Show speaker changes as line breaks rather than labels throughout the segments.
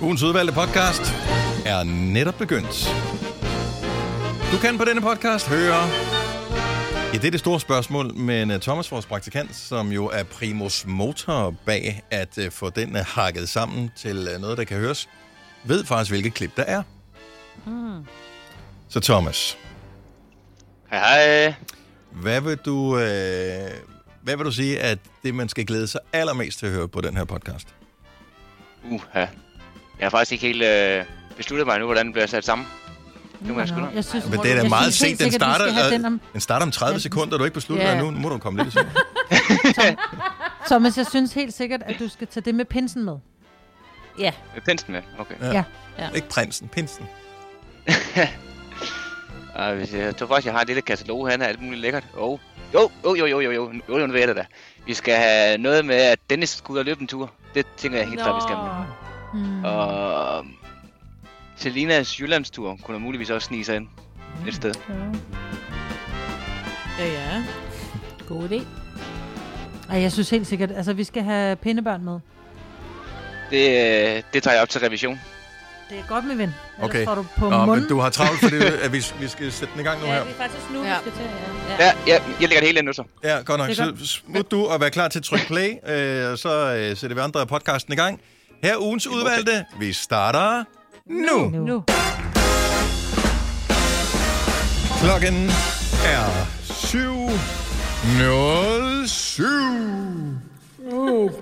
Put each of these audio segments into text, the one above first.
Ugens udvalgte podcast er netop begyndt. Du kan på denne podcast høre... Ja, det er det store spørgsmål, men øh, Thomas, vores praktikant, som jo er primus motor bag at øh, få den øh, hakket sammen til øh, noget, der kan høres, ved faktisk, hvilket klip der er.
Mm.
Så Thomas,
Hej, hej.
hvad vil du, øh, hvad vil du sige, at det, man skal glæde sig allermest til at høre på den her podcast?
Uha. Jeg har faktisk ikke helt øh, besluttet mig nu, hvordan den bliver sat sammen. Nu må jeg skynde mig.
Jeg synes,
Men det er da
jeg
meget
synes
sent.
helt
Den
sikkert, vi
starter,
skal have
øh,
den om,
den starter om 30 sekunder. Du er ikke besluttet
Ja.
yeah. nu. Nu må du komme lidt i sving.
Thomas, jeg synes helt sikkert, at du skal tage det med pinsen med.
Ja,
Med Pinsen med, okay.
Ikke prinsen, pinsen.
Og hvis jeg jeg tror faktisk, jeg har et lille katalog her, af alt muligt lækkert. Oh. Jo, jo, jo, jo, jo, jo, jo, jo, nu ved jeg det da. Vi skal have noget med, at Dennis skal ud og løbe en tur. Det tænker jeg helt klart, vi skal med.
Mm.
Og øhm, Selinas Jyllandstur kunne der muligvis også snige sig ind et sted.
ja, ja. God idé.
Ej, jeg synes helt sikkert, altså vi skal have pindebørn med.
Det, øh, det tager jeg op til revision.
Det er godt med ven. Ellers
Okay.
får du på
Nå,
munden.
men du har travlt, fordi at vi, vi skal sætte den i gang nu her.
er faktisk nu,
Ja.
skal til. Ja.
Ja, ja jeg lægger det hele ind nu så.
Ja, godt nok.
Det er
Så smut du og vær klar til at trykke play, øh, og så øh, sætter vi andre podcasten i gang. Her er ugens udvalgte. Vi starter nu.
Nu. nu.
Klokken er 7.07.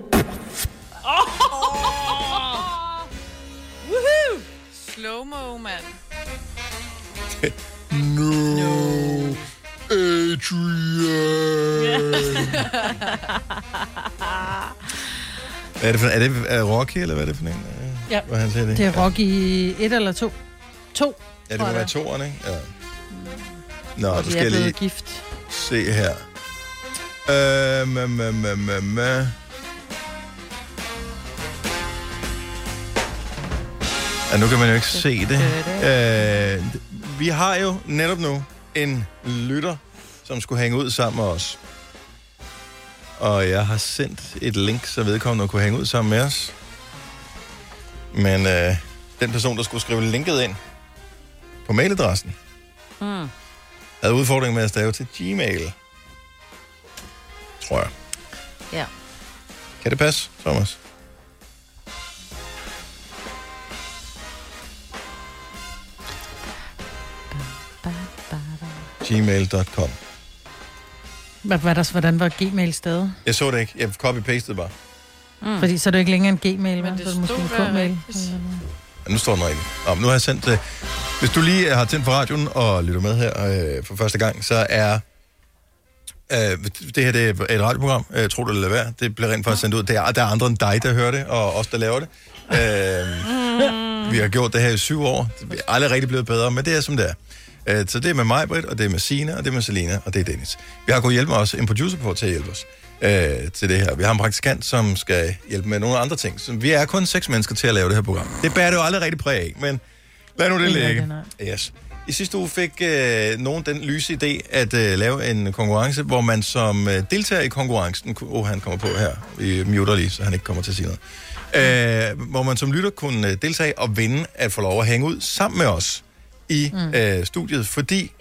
Woohoo! Slow-mo, mand.
No, Adrian. hvad er det for Er det er Rocky, eller hvad er det for en? øh,
Ja.
Hvad han siger det?
Det er Rocky et eller to. To.
Ja, det
tror
må
jeg,
være
det
toeren, ikke? Ja. Nå,
Og
du
de er
skal jeg lige
blevet gift.
se her. Øhm, øhm, øhm, øhm, øhm, øh. Ja, nu kan man jo ikke se det. Øh, vi har jo netop nu en lytter, som skulle hænge ud sammen med os. Og jeg har sendt et link, så vedkommende kunne hænge ud sammen med os. Men øh, den person, der skulle skrive linket ind på mailadressen,
Mm.
havde udfordringen med at stave til Gmail. Tror jeg.
Ja.
Kan det passe, Thomas? Gmail.com.
Hvad, hvad der, hvordan var Gmail stadig?
Jeg så det ikke. Jeg copy-pastede bare.
Mm. Fordi så er det ikke længere en Gmail, men
Men
så
det
er det måske
stod
en
der
K-mail.
rigtigt.
Ja, nu står den rigtigt. Nå, men nu har jeg sendt det. Hvis du lige øh, har tændt for radioen og lytter med her øh, for første gang, så er øh, det her det er et radioprogram, øh, tror du det eller hvad? Det bliver rent faktisk sendt ud. Det er, der er andre end dig, der hører det, og os, der laver det. Øh, vi har gjort det her i syv år. Det er aldrig rigtig blevet bedre, men det er som det er. Øh, Så det er med mig, Britt, og det er med Sina, og det er med Selina, og det er Dennis. Vi har kunnet hjælpe os, en producer på til at hjælpe os øh, til det her. Vi har en praktikant, som skal hjælpe med nogle andre ting. Så vi er kun seks mennesker til at lave det her program. Det bærer det jo aldrig rigtig præg af, men lad nu det
Det gør
ligge.
det,
Yes. I sidste uge fik øh, nogen den lyse idé at øh, lave en konkurrence, hvor man som øh, deltager i konkurrencen... ku- Åh, oh, han kommer på her. Vi muter lige, så han ikke kommer til at sige noget. Øh, hvor man som lytter kunne øh, deltage og vinde at få lov at hænge ud sammen med os i mm. øh, studiet, fordi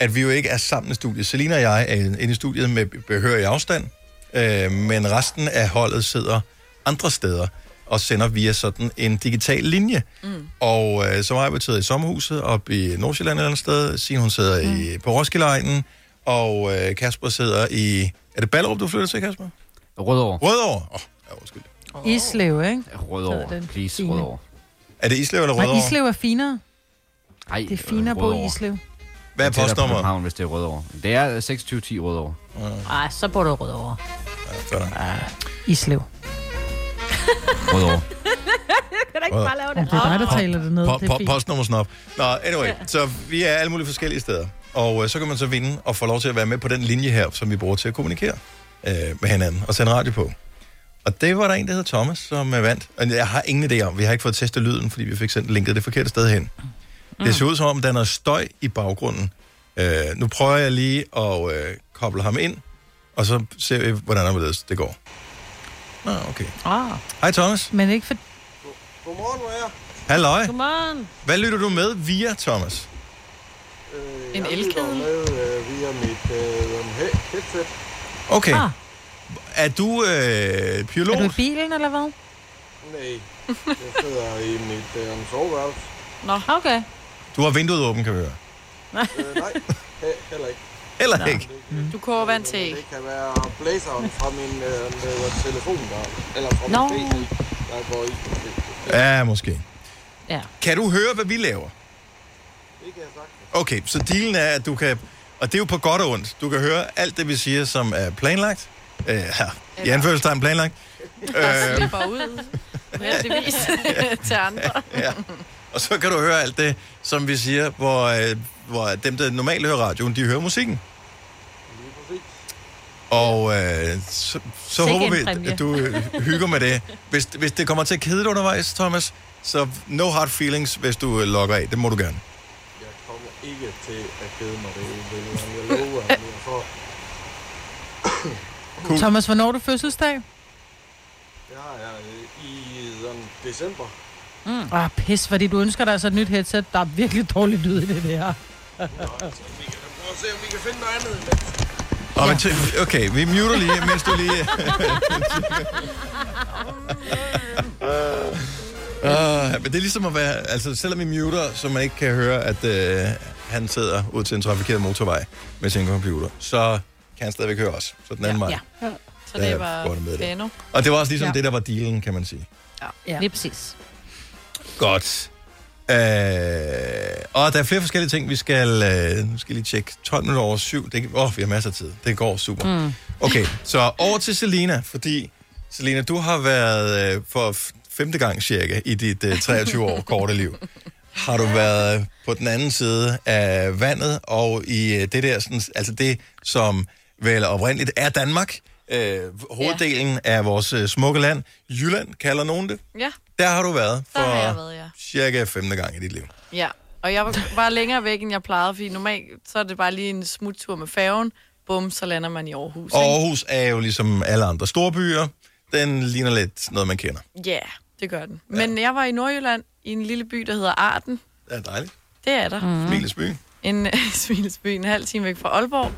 at vi jo ikke er sammen i studiet. Selina og jeg er inde i studiet med behørig afstand, øh, men resten af holdet sidder andre steder og sender via sådan en digital linje. Mm. Og øh, så har jeg betydet i sommerhuset op i Nordsjælland et eller andet sted. Signe, hun sidder mm. i, på Roskilde og øh, Kasper sidder i... Er det Ballerup, du flytter til, Kasper?
Rødovre.
Rødovre? Åh, oh, ja, undskyld.
Mm. Islev, ikke? Så er
Rødovre.
den
Please,
fine.
Rødovre.
Er det Islev eller
Nej,
Rødovre?
Islev er finere.
Ej,
Det er finere på
Rødovre.
Islev.
Hvad er
Tættere på
postnummeret?
København, hvis det er Rødovre. Det er 2610 Rødovre.
Ej, så bor du rød over.
Sådan.
Islev.
Rødovre.
Kan du ikke bare lave
Om det er dig, der taler det ned.
Po-
Det er
po-
fint.
postnummer snop. Nå, anyway, så vi er alle mulige forskellige steder. Og øh, så kan man så vinde og få lov til at være med på den linje her, som vi bruger til at kommunikere øh, med hinanden og sende radio på. Og det var der en, der hed Thomas, som øh, vandt. Og jeg har ingen idé om, vi har ikke fået testet lyden, fordi vi fik sendt linket det forkerte sted hen. Mm. Det ser ud som om, der er noget støj i baggrunden. Øh, nu prøver jeg lige at øh, koble ham ind, og så ser vi, hvordan og hvorledes det går. Nå, okay.
Ah.
Hej Thomas.
Men ikke for...
Godmorgen, hvor er jeg?
Halløj.
Godmorgen.
Hvad lytter du med via, Thomas?
En elkedel.
med øh, via mit øh, he- headset.
Okay.
Ah.
Er du øh,
Er
pilot?
du i bilen, eller hvad?
Nej, jeg sidder i mit øh, soveværelse.
Okay.
Du har vinduet åbent, kan vi høre.
Øh, nej, he- heller ikke.
Eller ikke.
Du koger vand til æg.
Det kan være blazeren fra min øh, øh, telefon, der, eller fra
Nå.
min PC, der går i.
Ja, måske.
Ja.
Kan du høre, hvad vi laver?
Det kan jeg sagtens.
Okay, så dealen er, at du kan... Og det er jo på godt og ondt. Du kan høre alt det, vi siger, som er planlagt. Øh, her. I anførselstegn planlagt. øh,
Slipper ud. Heldigvis til andre.
ja. Og så kan du høre alt det, som vi siger, hvor, øh, hvor dem, der normalt hører radioen, de hører musikken.
Lige præcis.
Og øh, så, så
Sikke
håber
en
vi,
præmie.
at du øh, hygger med det. Hvis, hvis det kommer til at kede dig undervejs, Thomas, så no hard feelings, hvis du øh, logger af. Det må du gerne.
Jeg kommer ikke til at kede mig det ene billede, men jeg lover, at jeg får.
Cool.
Thomas, hvornår er du fødselsdag?
Hmm.
Jeg har øh, i sådan, december.
Ah, pis, fordi du ønsker dig altså et nyt headset. Der er virkelig dårlig lyd i det der.
Vi kan prøve at se, om vi kan finde noget andet.
Og men t- okay, vi muter lige, mens du lige... Uh, men det er ligesom at være, altså selvom vi muter, så man ikke kan høre, at øh, han sidder ud til en trafikeret motorvej med sin computer, så kan han stadigvæk høre os. Så den anden ja, vej.
ja.
Så det
Ja,
var
godt med det.
Benno.
Og det var også ligesom ja.
Ja.
det, der var dealen, kan man sige.
Ja.
Lige præcis.
Godt. Øh, og der er flere forskellige ting, vi skal, øh, nu skal jeg lige tjekke. 12 minutter over syv. Det, åh, vi har masser af tid. Det går super. Mm. Okay, så over til Selina, fordi Selina, du har været øh, for f- femte gang cirka i dit øh, 23 år korte liv. Har du været på den anden side af vandet, og i øh, det der, sådan, altså det, som vel oprindeligt er Danmark, øh, hoveddelen af vores øh, smukke land, Jylland kalder nogen det,
Ja,
der har du været for
der har jeg været, ja.
cirka femte gang i dit liv.
Ja, og jeg var bare længere væk, end jeg plejede, fordi normalt så er det bare lige en smuttur med færgen. Bum, så lander man i Aarhus.
Og
ikke?
Aarhus er jo ligesom alle andre store byer. Den ligner lidt noget, man kender.
Ja, yeah, det gør den. Men jeg var i Nordjylland i en lille by, der hedder Arden.
Det er dejligt.
Det er der. Mm.
Smiles by.
En svinesby en halv time væk fra Aalborg,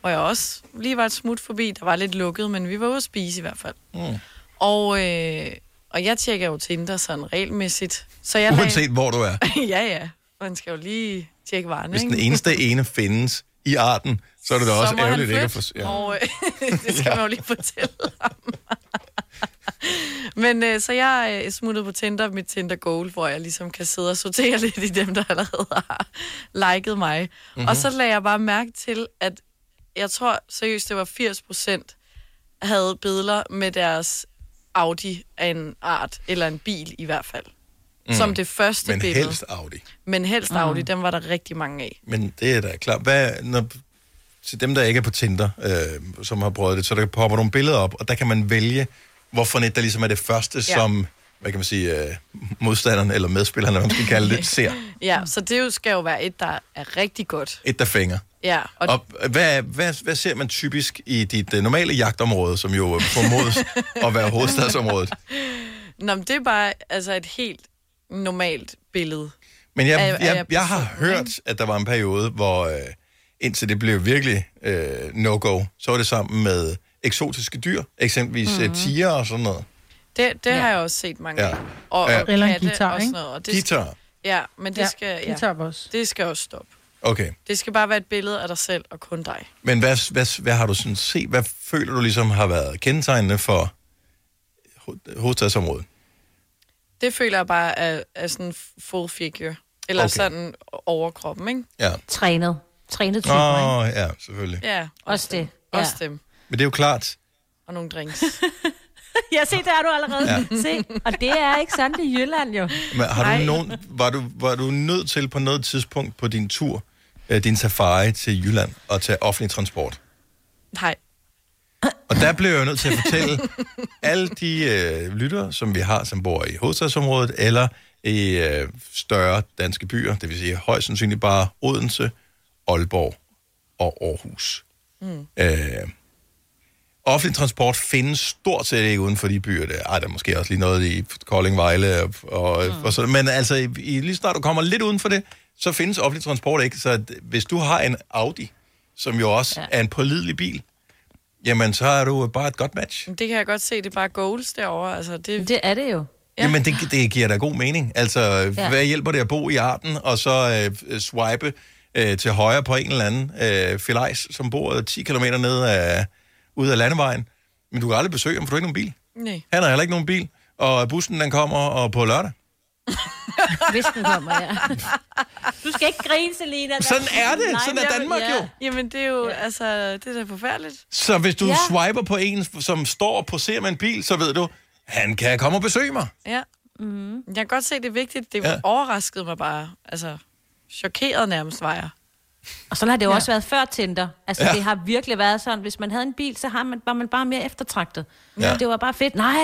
hvor jeg også lige var et smut forbi. Der var lidt lukket, men vi var ude at spise i hvert fald.
Mm.
Og, øh, og jeg tjekker jo Tinder sådan regelmæssigt. Så jeg
Uanset hvor du er.
Lagde, ja, ja. Man skal jo lige tjekke varen,
Hvis
ikke?
den eneste ene findes i arten, så er det da også
må han
ærgerligt ikke at få...
flytte,
Ja.
Og øh, det skal man jo lige fortælle ham. Men øh, så jeg øh, smuttede på Tinder, mit Tinder Goal, hvor jeg ligesom kan sidde og sortere lidt i dem, der allerede har liket mig. Mm-hmm.
Mhm.
Og så lagde jeg bare mærke til, at jeg tror seriøst, det var 80 procent havde billeder med deres Audi af en art, eller en bil i hvert fald. Mm. Som det første
Men
billede.
helst Mm. Audi.
Men helst Audi, dem var der rigtig mange af.
Men det er da klart. Hvad, når, til dem, der ikke er på Tinder, øh, som har prøvet det, så der popper nogle billeder op, og der kan man vælge, hvorfor net der ligesom er det første, ja.
Ja.
som hvad kan man sige, øh, modstanderen eller medspilleren, eller hvad man skal kalde det, ser.
Ja, så det jo skal jo være et, der er rigtig godt.
Et, der fænger.
Ja, og, og
Og hvad, hvad, hvad ser man typisk i dit uh, normale jagtområde, som jo øh, formodes at være hovedstadsområdet?
nå, men det er bare altså et helt normalt billede.
Men
Er-
jeg,
er
jeg,
jeg
jeg har
personen,
hørt, at der var en periode, hvor øh, indtil det blev virkelig øh, no-go, så var det sammen med eksotiske dyr, eksempelvis
Mhm.
mm-hmm. tiger og sådan noget.
Det, det ja.
Ja.
har jeg også set mange
Ja.
ja. af. Og, og
Ja.
Eller en
katte
guitar,
og
ikke?
sådan noget. Og det,
Guitar.
Ja, men det skal, ja,
Guitar også.
det skal også stoppe.
Okay.
Det skal bare være et billede af dig selv og kun dig.
Men hvad, hvad, hvad har du sådan set? Hvad føler du ligesom har været kendetegnende for ho- hovedstadsområdet?
Det føler jeg bare er, er sådan full figure. Eller
Okay.
okay. sådan overkroppen, ikke?
Ja.
Trænet. Trænet typen, oh.
Åh, oh, ja, selvfølgelig.
Ja,
Også det. Ja.
ja. også dem.
Men det er jo klart.
Og nogle drinks.
Ja, se, der er du allerede.
Ja.
Ja. Se, og det er ikke sandt i Jylland jo.
Men har du
Ej.
nogen, var, du, var du nødt til på noget tidspunkt på din tur, øh, din safari til Jylland, at tage offentlig transport?
Nej,
Og der blev jeg jo nødt til at fortælle alle de øh, lyttere, som vi har, som bor i hovedstadsområdet, eller i øh, større danske byer, det vil sige højst sandsynligt bare Odense, Aalborg og Aarhus. Mm. Øh, Offentlig transport findes stort set ikke uden for de byer der. Ej, der er måske også lige noget i Kolding, Vejle og, og, mm. og sådan. Men altså, i, i, lige snart du kommer lidt uden for det, så findes offentlig transport ikke. Så at, hvis du har en Audi, som jo også ja. er en pålidelig bil, jamen så er du bare et godt match.
Det kan jeg godt se, det er bare goals derovre. Altså, det,
Det er det jo.
Ja. Jamen, det, det giver da god mening. Altså, ja. hvad hjælper det at bo i Arden, og så øh, swipe øh, til højre på en eller anden øh, filajs, som bor 10 km ned af, ud af landevejen? Men du kan aldrig besøge ham, for du har ikke nogen bil.
nej.
Han har heller ikke nogen bil, og bussen den kommer og på lørdag.
Hvis den kommer, ja. Du skal ikke grine, Selina. Der-
Sådan er det.
Nej,
Sådan er
men-
Danmark
ja.
jo.
Jamen, det er jo, ja. altså, det er da forfærdeligt.
Så hvis du ja.
Ja.
swiper på en, som står og poserer med en bil, så ved du, han kan komme og besøge mig.
Ja. Mm. Jeg kan godt se, det er vigtigt. Det
Ja.
ja. overraskede mig bare. Altså, chokeret nærmest var jeg.
Og sådan har det jo også været før Tinder. Altså, ja. det har virkelig været sådan. Hvis man havde en bil, så har man, var man bare mere eftertragtet.
Ja.
Ja. Det var bare fedt. Nej,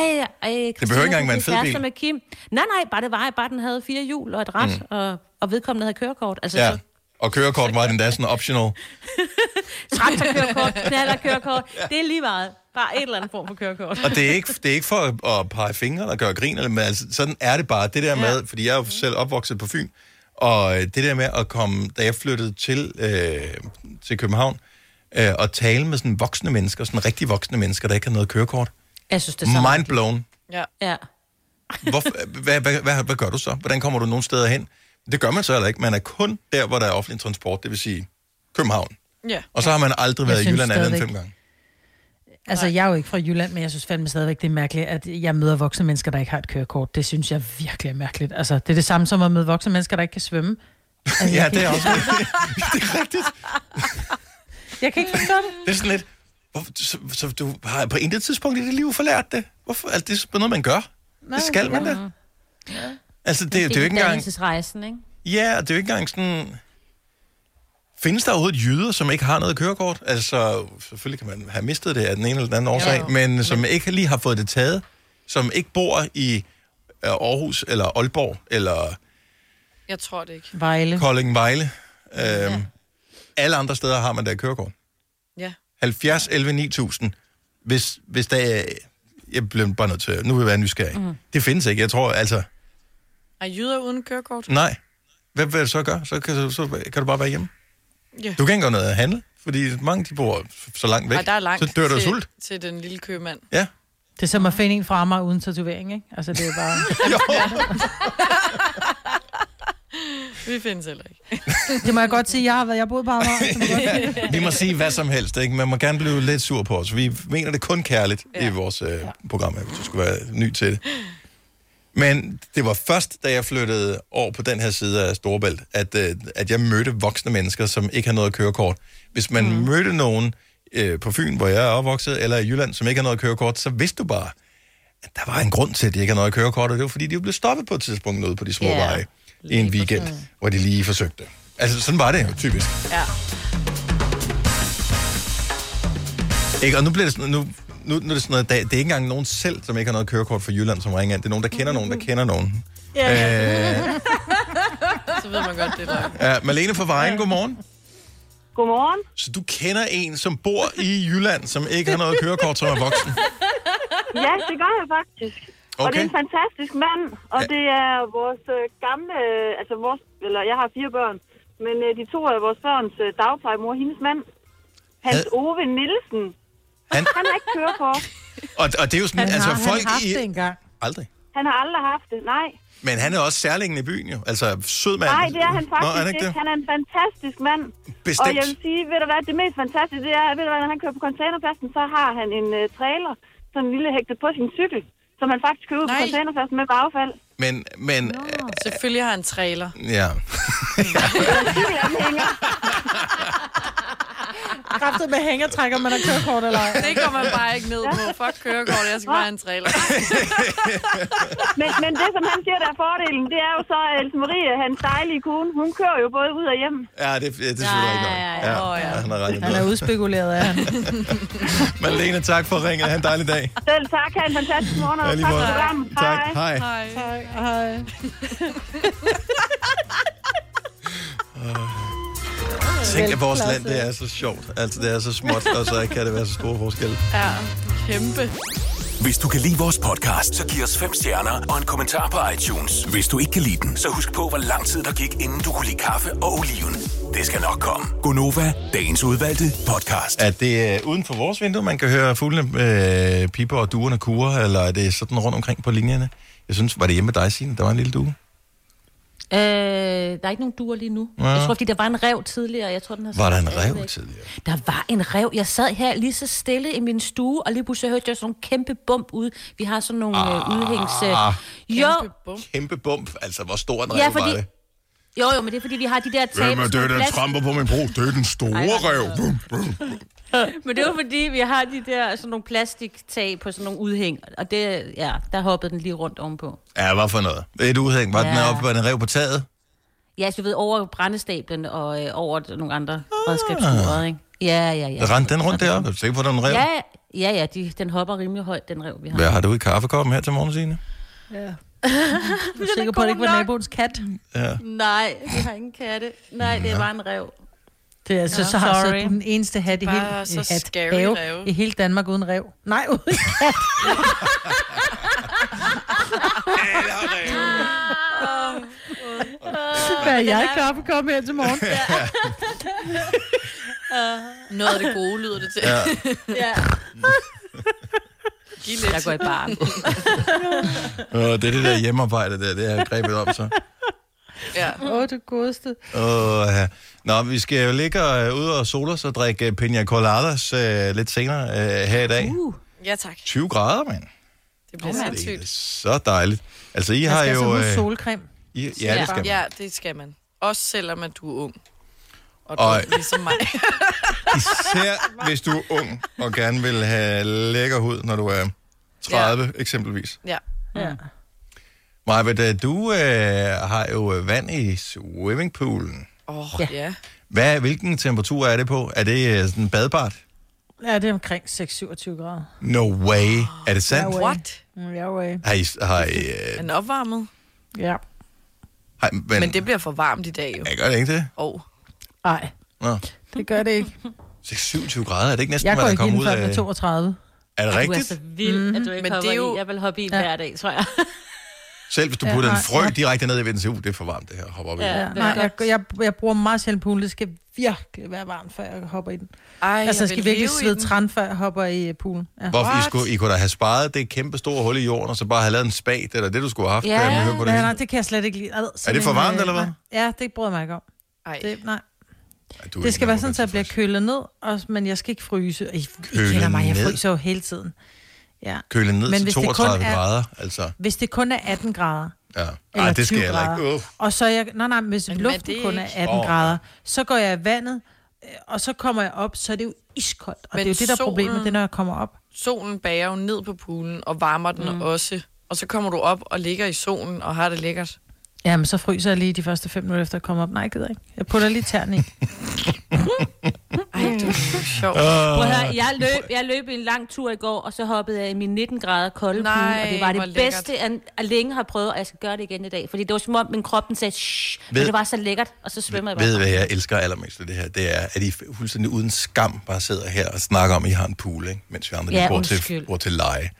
øh, det
behøver ikke engang være en fed bil.
Med Kim. Nej, nej, bare det var, bare den havde fire hjul og et ret, mm. og, og vedkommende havde kørekort. Altså,
Ja.
ja.
Og kørekort var den da sådan optional.
traktorkørekort, knallerkørekort. Det er lige meget. Bare et eller andet form for kørekort.
Og det er ikke, det er ikke for at, at pege fingre eller gøre grin, eller- men altså, sådan er det bare. Det der med, fordi jeg er jo selv opvokset på Fyn, og øh, det der med at komme, da jeg flyttede til, øh, til København, øh, og tale med sådan voksne mennesker, sådan rigtig voksne mennesker, der ikke har noget kørekort.
Jeg synes, det er så
Mind blown.
Ja.
Ja.
Hvor, hvad, hvad, hvad, hvad gør du så? Hvordan kommer du nogen steder hen? Det gør man så heller ikke. Man er kun der, hvor der er offentlig transport, det vil sige København.
Ja.
Og så har man aldrig været i
synes
Jylland andet end
stadigvæk-
fem gange.
Altså, jeg er jo ikke fra Jylland, men jeg synes fandme stadigvæk, det er mærkeligt, at jeg møder voksne mennesker, der ikke har et kørekort. Det synes jeg virkelig er mærkeligt. Altså, det er det samme som at møde voksne mennesker, der ikke kan svømme. Altså, jeg
Ja,
kan
det er
ikke-
også det er rigtigt.
Jeg kan ikke forstå det.
Det er sådan lidt, hvorfor, så, så du har på intet tidspunkt i dit liv forlært det? Hvorfor? Altså, det er sådan noget, man gør. Nej, det skal man da. Ja. Altså, det, det, det er jo ikke engang...
Dannelsesrejsen, ikke?
Ja, og det er jo ikke engang sådan... Findes der overhovedet jyder, som ikke har noget kørekort? Altså, selvfølgelig kan man have mistet det af den ene eller den anden årsag,
jo.
men som ikke lige har fået det taget, som ikke bor i øh, Aarhus eller Aalborg eller
Jeg tror det ikke.
Vejle.
Kolding Vejle. Øhm, Mm. ja. Alle andre steder har man da et kørekort.
Ja.
70 11 9000, hvis, hvis der er... Jeg bliver bare nødt til... Nu vil jeg være nysgerrig.
Mhm.
Mm. Det findes ikke. Jeg tror, altså...
Er jyder uden kørekort?
Nej. Hvad vil du så gøre? Så kan, så, så kan du bare være hjemme.
Ja.
Du kan ikke gøre noget at handle, fordi mange de bor så langt væk.
Ej, der er langt
så dør du af
til,
sult.
til den lille købmand.
Ja.
Det er som at finde en fra mig uden tatovering, ikke? Altså, det er bare...
Jo.
Vi findes heller ikke.
Det må jeg godt sige, jeg har været, jeg har boet på Amager. så må jeg
Altså,
godt-
Vi må sige hvad som helst, ikke? Man må gerne blive lidt sur på os. Vi mener det kun kærligt ja. i vores øh, program, her, hvis du skulle være ny til det. Men det var først, da jeg flyttede over på den her side af Storebælt, at, øh, at jeg mødte voksne mennesker, som ikke har noget kørekort. Hvis man mm. mødte nogen øh, på Fyn, hvor jeg er opvokset, eller i Jylland, som ikke har noget kørekort, så vidste du bare, at der var en grund til, at de ikke har noget kørekort, og det var fordi, de blev stoppet på et tidspunkt ude på de små
Ja,
yeah. veje i en weekend, hvor de lige forsøgte. Altså, sådan var det jo typisk.
Ja.
Ikke? Og nu bliver det sådan, nu, nu, nu er det sådan noget, det er det er ikke engang nogen selv, som ikke har noget kørekort fra Jylland, som ringer ind. Det er nogen, der kender nogen, der
Mm-hmm.
kender nogen. Yeah. Øh,
Så ved man godt, det er løgn.
ja, Malene fra Vejen, godmorgen.
Godmorgen.
Så du kender en, som bor i Jylland, som ikke har noget kørekort, som er voksen?
Ja, det gør jeg faktisk. Okay. Og det
Okay.
er en fantastisk mand, og
Ja.
ja. det er vores øh, gamle, øh, altså vores, eller jeg har fire børn, men øh, de to af vores børns øh, dagplejemor, hendes mand, Hans
Had-
Ove Nielsen,
Han,
han har ikke kørt på.
og, og det er jo sådan,
Han
altså
har, han
folk
har
i...
haft det engang.
Aldrig.
Han har aldrig haft det, nej.
Men han er også særlingen i byen jo. Altså, sød mand.
Nej, det er han faktisk
Nå, er han ikke det?
Han er en fantastisk mand. Og
Bestemt.
jeg vil sige, ved du hvad, det mest fantastiske, det er, ved du hvad, når han kører på containerpladsen, så har han en øh, trailer, sådan en lille hægtet på sin cykel, som han faktisk kører ud på
Nej.
containerpladsen med på affald.
Men, men...
Selvfølgelig har han en trailer.
øh, Ja.
Cykelanhænger.
Kræftet med hængertrækker, man har kørekort eller ej.
Det går man bare ikke ned på. Fuck kørekort, jeg skal bare have en trailer.
Men, men det, som han siger, der er fordelen, det er jo så, at Else Marie, hans dejlige kone, hun kører jo både ud og hjem.
Ja, det, det synes jeg ikke nok. Ja,
Åh, ja.
han har ret i
Han er
noget.
udspekuleret af han.
Malene, tak for ringet. Ha' en dejlig dag.
Selv tak, have en fantastisk morgen, og
Ja, lige
tak for
måde.
programmet.
Tak.
Hej.
Hej.
Nej.
Så Tænk, at vores land, det er så sjovt. Altså, det er så småt, og så kan det være så store forskelle.
Ja, kæmpe.
Hvis du kan lide vores podcast, så giv os fem stjerner og en kommentar på iTunes. Hvis du ikke kan lide den, så husk på, hvor lang tid der gik, inden du kunne lide kaffe og oliven. Det skal nok komme. Gonova, dagens udvalgte podcast.
Er det øh, uden for vores vindue, man kan høre fuglene øh, piper og duerne kurer, eller er det sådan rundt omkring på linjerne? Jeg synes, var det hjemme med dig, Signe? Der var en lille due.
Øh, der er ikke nogen duer lige nu. Ja. Jeg tror, fordi der var en rev tidligere. Jeg tror, den har
Var der
sådan
en
stadigvæk.
rev tidligere?
Der var en rev. Jeg sad her lige så stille i min stue, og lige pludselig hørte jeg sådan en kæmpe bump ude. Vi har sådan nogle ah, udhængs... Øh. Jo,
Kæmpe bum.
Kæmpe bump. Altså, hvor stor en rev
Ja,
var
fordi-
det?
jo, jo, men det er fordi, vi har de der tabers... med glas-
på min bro? Det er den store rev. Bum, bum.
Men det var fordi, vi har de der sådan nogle plastiktag på sådan nogle udhæng. Og det, ja, der hoppede den lige rundt ovenpå.
Ja, hvad for noget? Et udhæng. Var ja. den
Ja.
oppe, var den rev på taget?
Ja, så du ved, over brændestablen og øh, over nogle andre redskabsmurer, ikke? Ja, ja, ja.
Ja. Rendte den rundt deroppe? Er du sikker på, at der er en rev?
Ja, ja, ja de, den hopper rimelig højt, den rev, vi har.
Hvad har du i kaffekoppen her til morgen, Signe?
Jeg er sikker på, at det ikke var naboens kat.
Ja.
Nej, vi har ingen katte. Nej, det er bare en rev.
Det er altså,
Nå,
så har så
sorry.
du den eneste hat i
Bare
hele,
så
hat,
scary
have,
ræve.
i hele Danmark uden rev. Nej, uden hat. Hvad er jeg klar for at komme her til morgen?
Noget af det gode lyder det til.
Ja.
Ja,
Giv lidt.
jeg går i barn.
Og det er det der hjemmearbejde der, det har jeg grebet om så.
Ja.
Åh, oh, det godeste.
Åh, ja. Nå, vi skal jo ligge øh, ude og sole os og drikke øh, pina coladas øh, lidt senere øh, her i dag. Uh.
ja, tak.
20 grader, mand.
Det bliver
mand.
Det er
sindssygt.
så dejligt. Altså, I
Jeg
har
skal
jo...
altså huske
Øh,
solcreme.
I, ja, det skal man.
Ja, det skal man. Også selvom at du er ung. Og du
Og-
er ligesom mig.
Især hvis du er ung og gerne vil have lækker hud, når du er 30 ja. eksempelvis.
Ja.
Ja.
Maja, øh, du øh, har jo øh, vand i swimmingpoolen.
Åh,
Ja.
oh, ja.
Hvad, hvilken temperatur er det på? Er det øh, sådan badbart?
ja, det er omkring 6-27 grader.
No way. Er det sandt?
No way.
What?
Mm, Ja, way.
Har I, har I, øh,
Er den opvarmet?
Ja.
har, men,
Men det bliver for varmt i dag jo.
Jeg gør det ikke det.
Og
Nej,
Nå.
det gør det ikke.
26 grader, er det ikke næsten,
Jeg
hvad
går
der
ikke
kommer
inden
ud
før den er
af...
32.
Er det
Du er
rigtigt?
så vild, at du ikke
Men det er
hopper
jo-
i. Jeg vil hoppe i ja. hver dag, tror jeg.
Selv hvis du
Ja,
putter en
nej,
frø
ja.
direkte ned i vinden, siger, uh, det er for varmt det her, hopper op i.
Ja.
Ja.
Ja, nej, jeg, jeg, jeg bruger meget sjældent poolen. Det skal virkelig være varmt, før jeg hopper i den.
Ej,
Altså, jeg
vil
skal virkelig
leve i
svede
den.
træn, før jeg hopper i øh, poolen. Ja.
Hvorfor I,
What?
skulle, I kunne da have sparet det kæmpe store hul i jorden, og så bare have lavet en spat, eller det, du skulle have haft.
Ja,
da jeg hørte på det
Ja,
hele.
nej, det kan jeg slet ikke lide. Ad, sådan
det for
en,
varmt,
øh,
eller hvad?
nej. Ja, det bryder jeg mig ikke om.
Ej.
Det, nej.
Ej, du er
det skal
ikke
være
nogen,
sådan,
der
at jeg bliver
tilfreds.
kølet ned, og, men jeg skal ikke fryse. I, I
altså Kølet
kender mig, jeg
ned?
fryser jo hele tiden. Ja.
Køle ned
Men
til
hvis det kun
32
er-
grader, altså.
Hvis det kun er 18 grader,
Ja. Ej,
eller
det skal jeg
20
heller ikke.
grader.
Uh.
Og så er jeg, nej, nej, hvis
Men
men
hvad
luften
det
kun er
ikke?
18
Åh.
oh. grader, så går jeg i vandet, øh, og så kommer jeg op, så er det jo iskoldt. Og
Men
det er jo det, der er problemet,
solen-
det er, når jeg kommer op.
Solen bager jo ned på poolen og varmer den mm. også. Og så kommer du op og ligger i solen og har det lækkert.
Jamen, så fryser jeg lige de første fem minutter efter at komme op. Nej, jeg gider ikke. Jeg putter lige tern i.
Ej, det er sjovt.
Øh,
Prøv at høre, jeg løb, jeg løb en lang tur i går, og så hoppede jeg i min 19 grader kolde
Nej,
pool, og det var
hvor
det
lækkert.
bedste, jeg jeg længe har prøvet, og jeg skal gøre det igen i dag. Fordi det var som om, min krop den sagde, shh,
Ved-
men det var så lækkert, og så svømmer jeg bare.
Ved I, hvad jeg elsker allermest ved det her? Det er, at I fuldstændig uden skam bare sidder her og snakker om, at I har en pool, ikke? mens vi andre ja,
Ja,
bor, til,
undskyld.
bor til leje.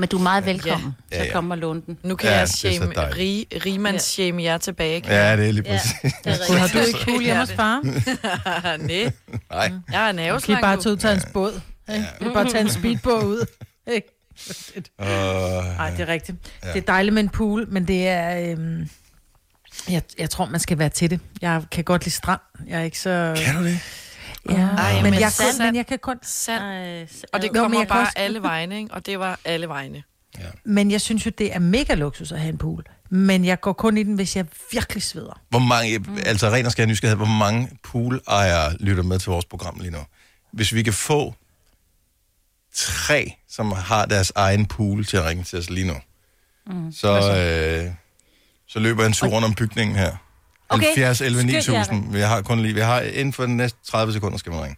Men du er meget velkommen ja.
Ja,
til
ja.
at komme og låne den.
Nu kan
Ja,
ja,
det er
jeg
så
shame,
dejligt.
rig, rigmands shame jer tilbage. Ja.
Ja, det er lige præcis. Ja.
det er
Du har
rigtigt.
du ikke pool hjemme hos far?
Nej,
Nej.
jeg er en
Kan I
haveslang
bare
nu.
tage ud til hans båd? Ikke? Du kan bare tage en speedbåd ud. Mm.
Øh,
Nej, det er rigtigt. Det er dejligt med en pool, men det er... Øhm, jeg, jeg tror, man skal være til det. Jeg kan godt lide strand. Jeg er ikke så...
Kan du det?
Ja.
Ej,
men,
men
jeg
sand-
kun, men jeg kan kun...
Sand.
Ej, så-
Og det
men
kommer
jeg kan
bare
også-
alle vegne, ikke? Og det var alle vegne.
Men jeg synes jo, det er mega luksus at have en pool. Men jeg går kun i den, hvis jeg virkelig sveder.
Hvor mange, altså ren og skær nysgerrighed, hvor mange poolejere lytter med til vores program lige nu? Hvis vi kan få tre, som har deres egen pool til at ringe til os lige nu, mm. så, øh, så løber jeg en tur rundt om bygningen her.
Okay.
70, 11,
Skynd jer,
9000. Vi har kun lige, vi har inden for de næste 30 sekunder, skal man ringe.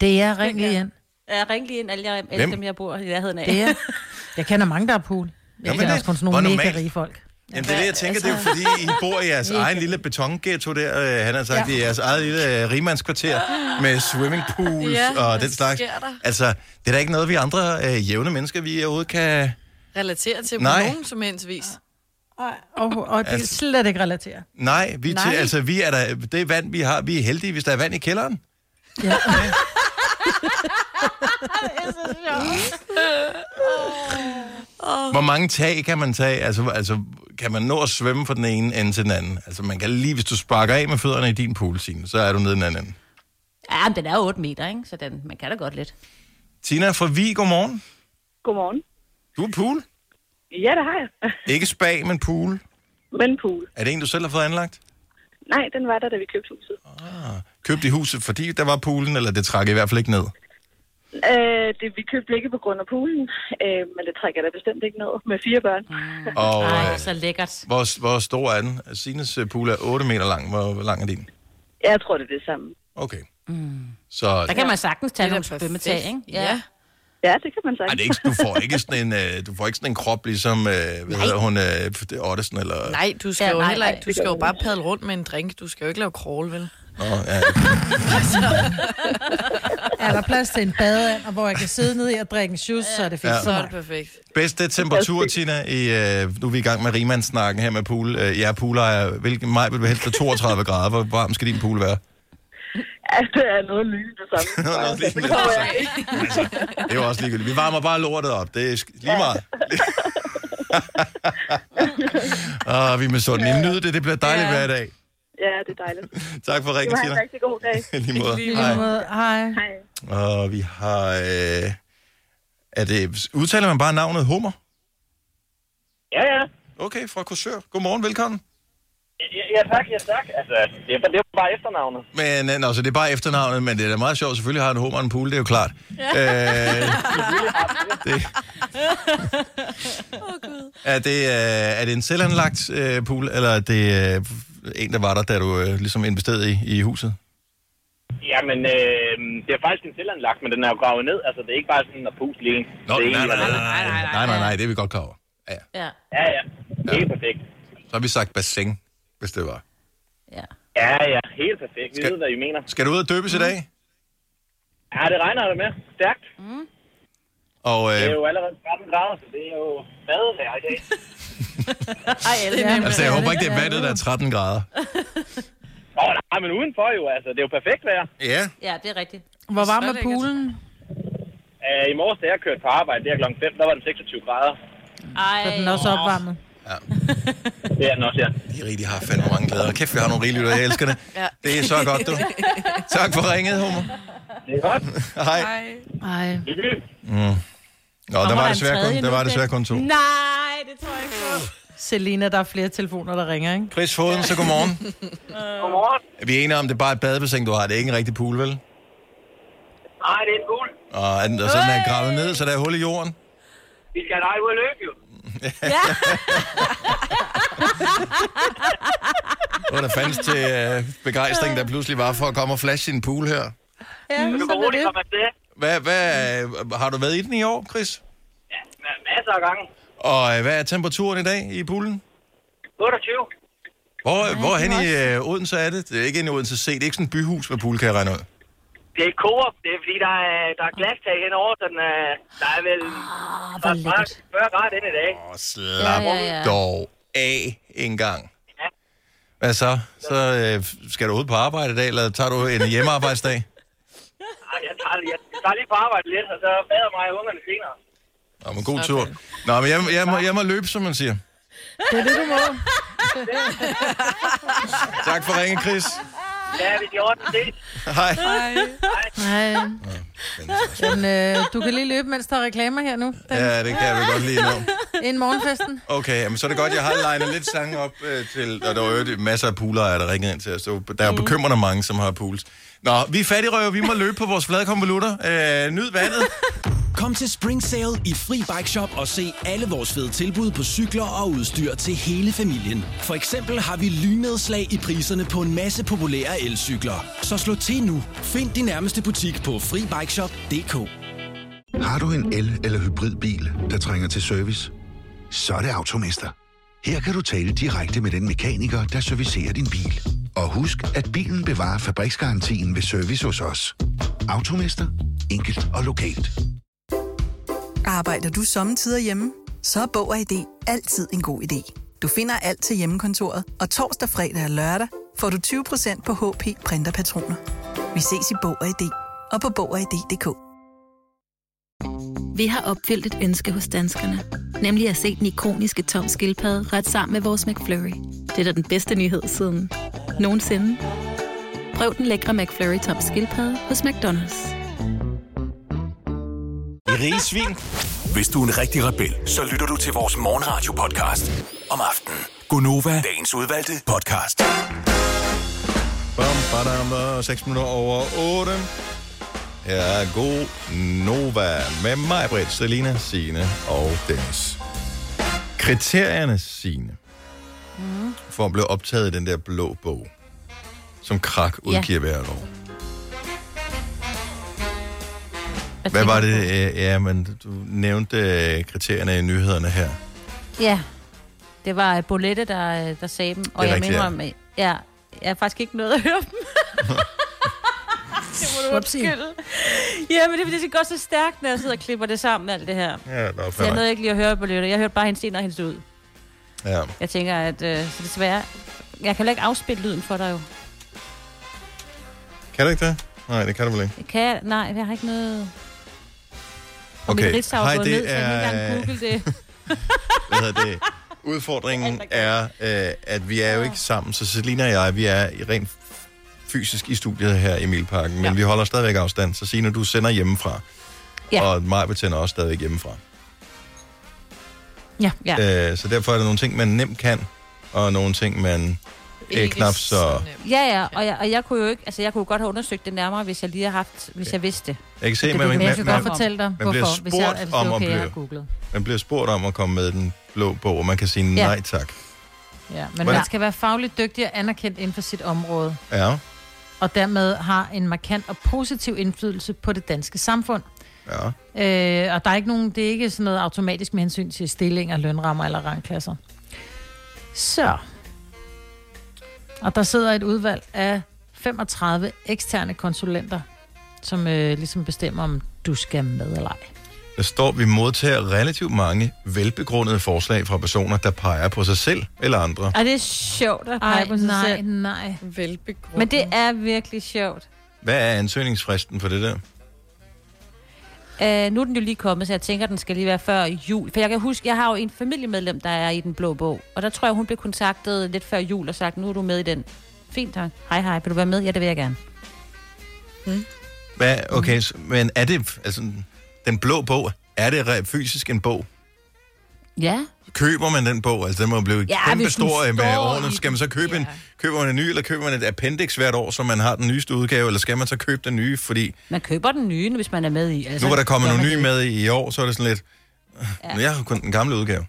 Det er ring lige ind.
Ja, ring lige ind, alle, jeg, alle
Hvem?
dem, jeg bor i nærheden af.
Det er. Jeg kender mange, der har pool. Jeg
Jamen,
kender
det-
også kun sådan
hvor
nogle mega
normalt.
rige folk.
Jamen, det er det, jeg tænker, det er jo fordi,
altså.
I bor i jeres egen lille betonghetto der, øh, han har sagt, ja. i jeres eget lille øh, rigmandskvarter med swimmingpools
Ja,
ja, og
hvad
den slags.
sker der?
Altså, det er da ikke noget, vi andre øh, jævne mennesker, vi overhovedet kan...
Relateret til
Nej.
på nogen som helst vis.
Og, og det
Altså-
er slet ikke relateret.
Nej, vi,
Nej.
Til, altså, vi er der, det vand, vi har, vi er heldige, hvis der er vand i kælderen.
Ja.
Hvor mange tag kan man tage? Altså, altså, kan man nå at svømme fra den ene ende til den anden? Altså, man kan lige, hvis du sparker af med fødderne i din pool, Signe, så er du nede i den anden ende.
Ja, men den er jo 8 meter, ikke? Så den, man kan da godt lidt.
Tina fra Vi, godmorgen.
Godmorgen.
Du er pool.
Ja, det har jeg.
Ikke spa, men pool.
Men pool.
Er det en, du selv har fået anlagt?
Nej, den var der, da vi købte huset.
Købte i huset, fordi der var poolen, eller det trak i hvert fald ikke ned?
Øh, det, vi købte ikke på grund af poolen, øh, men det trækker da bestemt ikke ned med fire børn.
Og
Ej,
øh,
så lækkert.
hvor, hvor stor er den? Sines øh, pool er 8 meter lang. Hvor hvor lang er din?
Ja, jeg tror, det er det samme.
Okay. Så
Der kan man sagtens tage nogle
da perfekt.
svømmetag, ikke?
Ja.
Ja, det kan man
Ej,
sige.
det er ikke, du, får ikke sådan en, øh, du får ikke sådan en krop, ligesom øh, hvad hedder hun, øh, f- det er Ottesen, eller...
Nej, du skal
Ja,
ja, jo
nej,
heller ikke.
nej.
Du skal jo bare padle rundt med en drink. Du skal jo ikke lave crawl, vel?
Nå, ja.
Er der plads til en badeand, og hvor jeg kan sidde ned i og drikke en juice, så er det fint
Ja.
ja.
Så
for
er det
mig.
perfekt.
Bedste temperatur, Tina, i, øh, nu er vi i gang med rimandsnakken her med pool. Øh, jeg er poolejer. Hvilken maj vil du helst have 32 grader? Hvor varm skal din pool være?
Ja, det er noget lydigt det samme.
Nå, nå, lige-
det tror jeg ikke.
Det er jo også ligegyldigt. Vi varmer bare lortet op. Det er sk- lige meget. Og vi er med sådan. Nyd det. Det bliver dejligt hver dag.
Ja, det er dejligt.
Tak for
Du
ringen,
har
Tina.
en rigtig god dag.
I lige måde.
Lige
Hej.
måde. Hej.
Hej.
Og vi har... Øh, er det, udtaler man bare navnet Hummer?
Ja, ja.
Okay, fra Korsør. Godmorgen, velkommen.
Ja, ja tak, ja tak. Altså, det er, det er bare efternavnet.
Men øh, nå, så det er bare efternavnet, men det er da meget sjovt. Selvfølgelig har en hummer en pool, det er jo klart. Ja. Øh, det. er, det, øh, er det en selvanlagt øh, pool, eller er det øh, en, der var der, da du øh, ligesom investerede i, i huset?
Jamen, øh, det er faktisk en selvanlagt, men den er jo gravet ned. Altså, det er ikke bare sådan at puste lige.
Nå,
det er
nej, nej,
en,
nej,
der-
nej, nej, nej, nej, nej, det er vi godt klar over. Ja, ja.
Ja,
Ja, ja. Helt perfekt.
så har vi sagt bassin, hvis det var.
ja.
Ja, ja. Helt perfekt. Vi
Skal-
ved, hvad I mener.
Skal du ud og døbes i dag?
Ja, det regner det med. Stærkt.
Og,
Det
øh,
er jo allerede 13 grader, så det er jo badevejr i dag.
Ej, Elsa.
altså, jeg håber ikke, det er vandet, der er 13 grader.
Åh, nej, men udenfor jo, altså. Det er jo perfekt vejr.
Ja,
Ja, det er rigtigt.
Hvor varm
Så
er
lækkert.
poolen?
Øh, I morges, da jeg kørte på arbejde, der kl. 5, der var den 26 grader.
Ej,
Er den også opvarmet?
Det er den også, ja.
I rigtig har fandme mange glæder. Kæft, vi har nogle rigelige lytter. Jeg elsker det. Ja. Det er så godt, du. Tak for ringet, Homer.
Det er godt.
Hej.
Nej.
Hyggeligt.
Nå, der
der
var
en
desværre kun,
tredje
der
nu,
var
det- Mm.
desværre kun to.
Nej, det tror jeg ikke på.
Selina, der er flere telefoner, der ringer, ikke?
Chris Foden, så godmorgen.
Godmorgen.
Vi er enige om, det er bare et badebassin, du har. Det er ikke en rigtig pool, vel?
Nej, det er en gul.
Og, er den- og så den er gravet ned, så der er hul i jorden.
Vi skal dig ud og løbe, jo.
Og der fandtes til øh, begejstring, der pludselig var for at komme og flashe sin pool her.
Ja,
Du kan
sådan er
roligt
det.
komme afsted.
Hvad, hvad, øh, har du været i den i år, Chris?
Ja, ma- masser af gange.
Og øh, hvad er temperaturen i dag i poolen?
28.
Hvor, hvor hen i øh, Odense er det? Det er ikke inde i Odense C. Det er ikke sådan et byhus med pool, kan jeg regne ud.
Det er Coop. Det er fordi, der er, der er glastag henover, så den, øh, der er vel
Ah,
der
hvor
er snart
lækkert.
40 grader ind i dag.
Og slap ja,
Ja,
ja,
ja,
ja.
ja.
dog af en gang.
Ja.
Hvad så? Så øh, skal du ud på arbejde i dag, eller tager du en hjemmearbejdsdag?
Ej, jeg, tager, jeg, jeg tager lige på arbejde lidt, og så bader mig og ungerne senere.
Nå, men god tur. Nå, men jeg, jeg, må, jeg må løbe, som man siger.
Det er det, du må.
Tak for ringen, Chris.
Ja, vi gjorde det. Det
Hej.
Nej. Men øh, du kan lige løbe, mens der er reklamer her nu. Den,
Ja, det kan jeg vel godt lide nu.
Inden morgenfesten.
Okay, jamen, så er det godt, jeg har legnet lidt sange op øh, til... Og der var jo øvrigt masser af poolere, der ringede ind til os. Så Der er jo bekymrende mange, som har pools. Nå, vi er fattigrøver, vi må løbe på vores flade konvolutter. Øh, nyd vandet.
Kom til Spring Sale i Fri Bike Shop og se alle vores fede tilbud på cykler og udstyr til hele familien. For eksempel har vi lynnedslag i priserne på en masse populære elcykler. Så slå til nu. Find din nærmeste butik på FriBikeShop.dk
Har du en el- eller hybridbil, der trænger til service? Så er det Automester. Her kan du tale direkte med den mekaniker, der servicerer din bil. Og husk, at bilen bevarer fabriksgarantien ved service hos os. Automester. Enkelt og lokalt.
Arbejder du sommetider hjemme? Så er Bog og ID altid en god idé. Du finder alt til hjemmekontoret, og torsdag, fredag og lørdag får du 20% på HP printerpatroner. Vi ses i Bog og ID og på Bog og ID.dk.
Vi har opfyldt et ønske hos danskerne. Nemlig at se den ikoniske tom skildpadde ret sammen med vores McFlurry. Det er da den bedste nyhed siden nogensinde. Prøv den lækre McFlurry tom skildpadde hos McDonald's.
Rige svin. Hvis du er en rigtig rebel, så lytter du til vores morgenradio-podcast om aftenen.
Gunova.
Dagens udvalgte podcast.
Bam, badam, 6 minutter over 8. Her er god Nova med mig, Britt, Selina, Signe og Dennis. Kriterierne, Signe,
Mm.
for at blive optaget i den der blå bog, som krak udgiver ja. hvert år. Hvad var det? øh, Ja, men du nævnte øh, kriterierne i nyhederne her.
Ja, det var øh, Bolette, der, øh, der sagde dem,
Det
og
er
jeg
rigtigt, ja.
mener om, øh, ja, jeg har faktisk ikke noget at høre dem. det må du
Upsi.
undskylde. Ja, men det er fordi, det går så stærkt, når jeg sidder og klipper det sammen, alt det her.
Ja, nå,
Så jeg
fair
nåede
nok.
ikke lige at høre Bolette. Jeg hørte bare hendes ind og hendes ud.
ja.
Jeg tænker, at øh, så desværre... Jeg kan heller ikke afspille lyden for dig jo.
Kan du ikke det? Nej, det kan du vel ikke.
Kan jeg? Nej, jeg har ikke noget... Og
Okay.
mit ritsav er
Hej,
gået
det
ned, så jeg kan ikke
er-
engang google det.
Hvad hedder det? Udfordringen er, øh, at vi er jo ikke sammen, så Selina og jeg, vi er i rent fysisk i studiet her i Emilparken, men vi holder stadigvæk afstand, så Signe, du sender hjemmefra,
Ja.
og mig vil tænder også stadigvæk hjemmefra.
Ja. ja.
Øh, så derfor er der nogle ting, man nemt kan, og nogle ting, man øh, knap så...
Ja, ja, og jeg, og jeg kunne jo ikke, altså jeg kunne jo godt have undersøgt det nærmere, hvis jeg lige har haft, hvis jeg vidste.
Jeg kan se,
det,
man, man,
man,
man, man,
fortælle dig,
man bliver
hvorfor, hvis jeg-
spurgt
hvis det er
om at
okay, jeg har
blive,
googlet.
man bliver spurgt om at komme med den blå bog, og man kan sige
Ja.
nej tak.
Ja, men
Hvordan-
man skal være fagligt dygtig og anerkendt inden for sit område,
Ja.
og dermed har en markant og positiv indflydelse på det danske samfund.
Ja.
Øh, og der er ikke nogen, det er ikke sådan noget automatisk med hensyn til stillinger, lønrammer eller rangklasser. Så. Og der sidder et udvalg af 35 eksterne konsulenter, som øh, ligesom bestemmer, om du skal med eller ej.
Der står, vi modtager relativt mange velbegrundede forslag fra personer, der peger på sig selv eller andre.
Og det er sjovt at pege
Ej,
på sig
nej,
selv.
nej.
Velbegrundet.
Men det er virkelig sjovt.
Hvad er ansøgningsfristen for det der?
Uh, nu er den jo lige kommet, så jeg tænker, den skal lige være før jul. For jeg kan huske, jeg har jo en familiemedlem, der er i den blå bog. Og der tror jeg, hun blev kontaktet lidt før jul og sagt, nu er du med i den. Fint, tak. Hej, hej. Vil du være med? Ja, det vil jeg gerne.
Hvad, okay, så- men er det, altså, den blå bog, er det re- fysisk en bog?
Ja.
Køber man den bog? Altså, den må blive
Ja,
ja, kæmpe
hvis den
stor med
står i
årene.
den-
Skal man så købe ja. en, køber man en ny, eller køber man et appendix hvert år, så man har den nyeste udgave, eller skal man så købe den nye? Fordi
Man køber den nye, hvis man er med i.
nu var der kommet
gør
nogle
man
nye
Altså, det.
med i år, så er det sådan lidt, ja. jeg har kun den gamle udgave.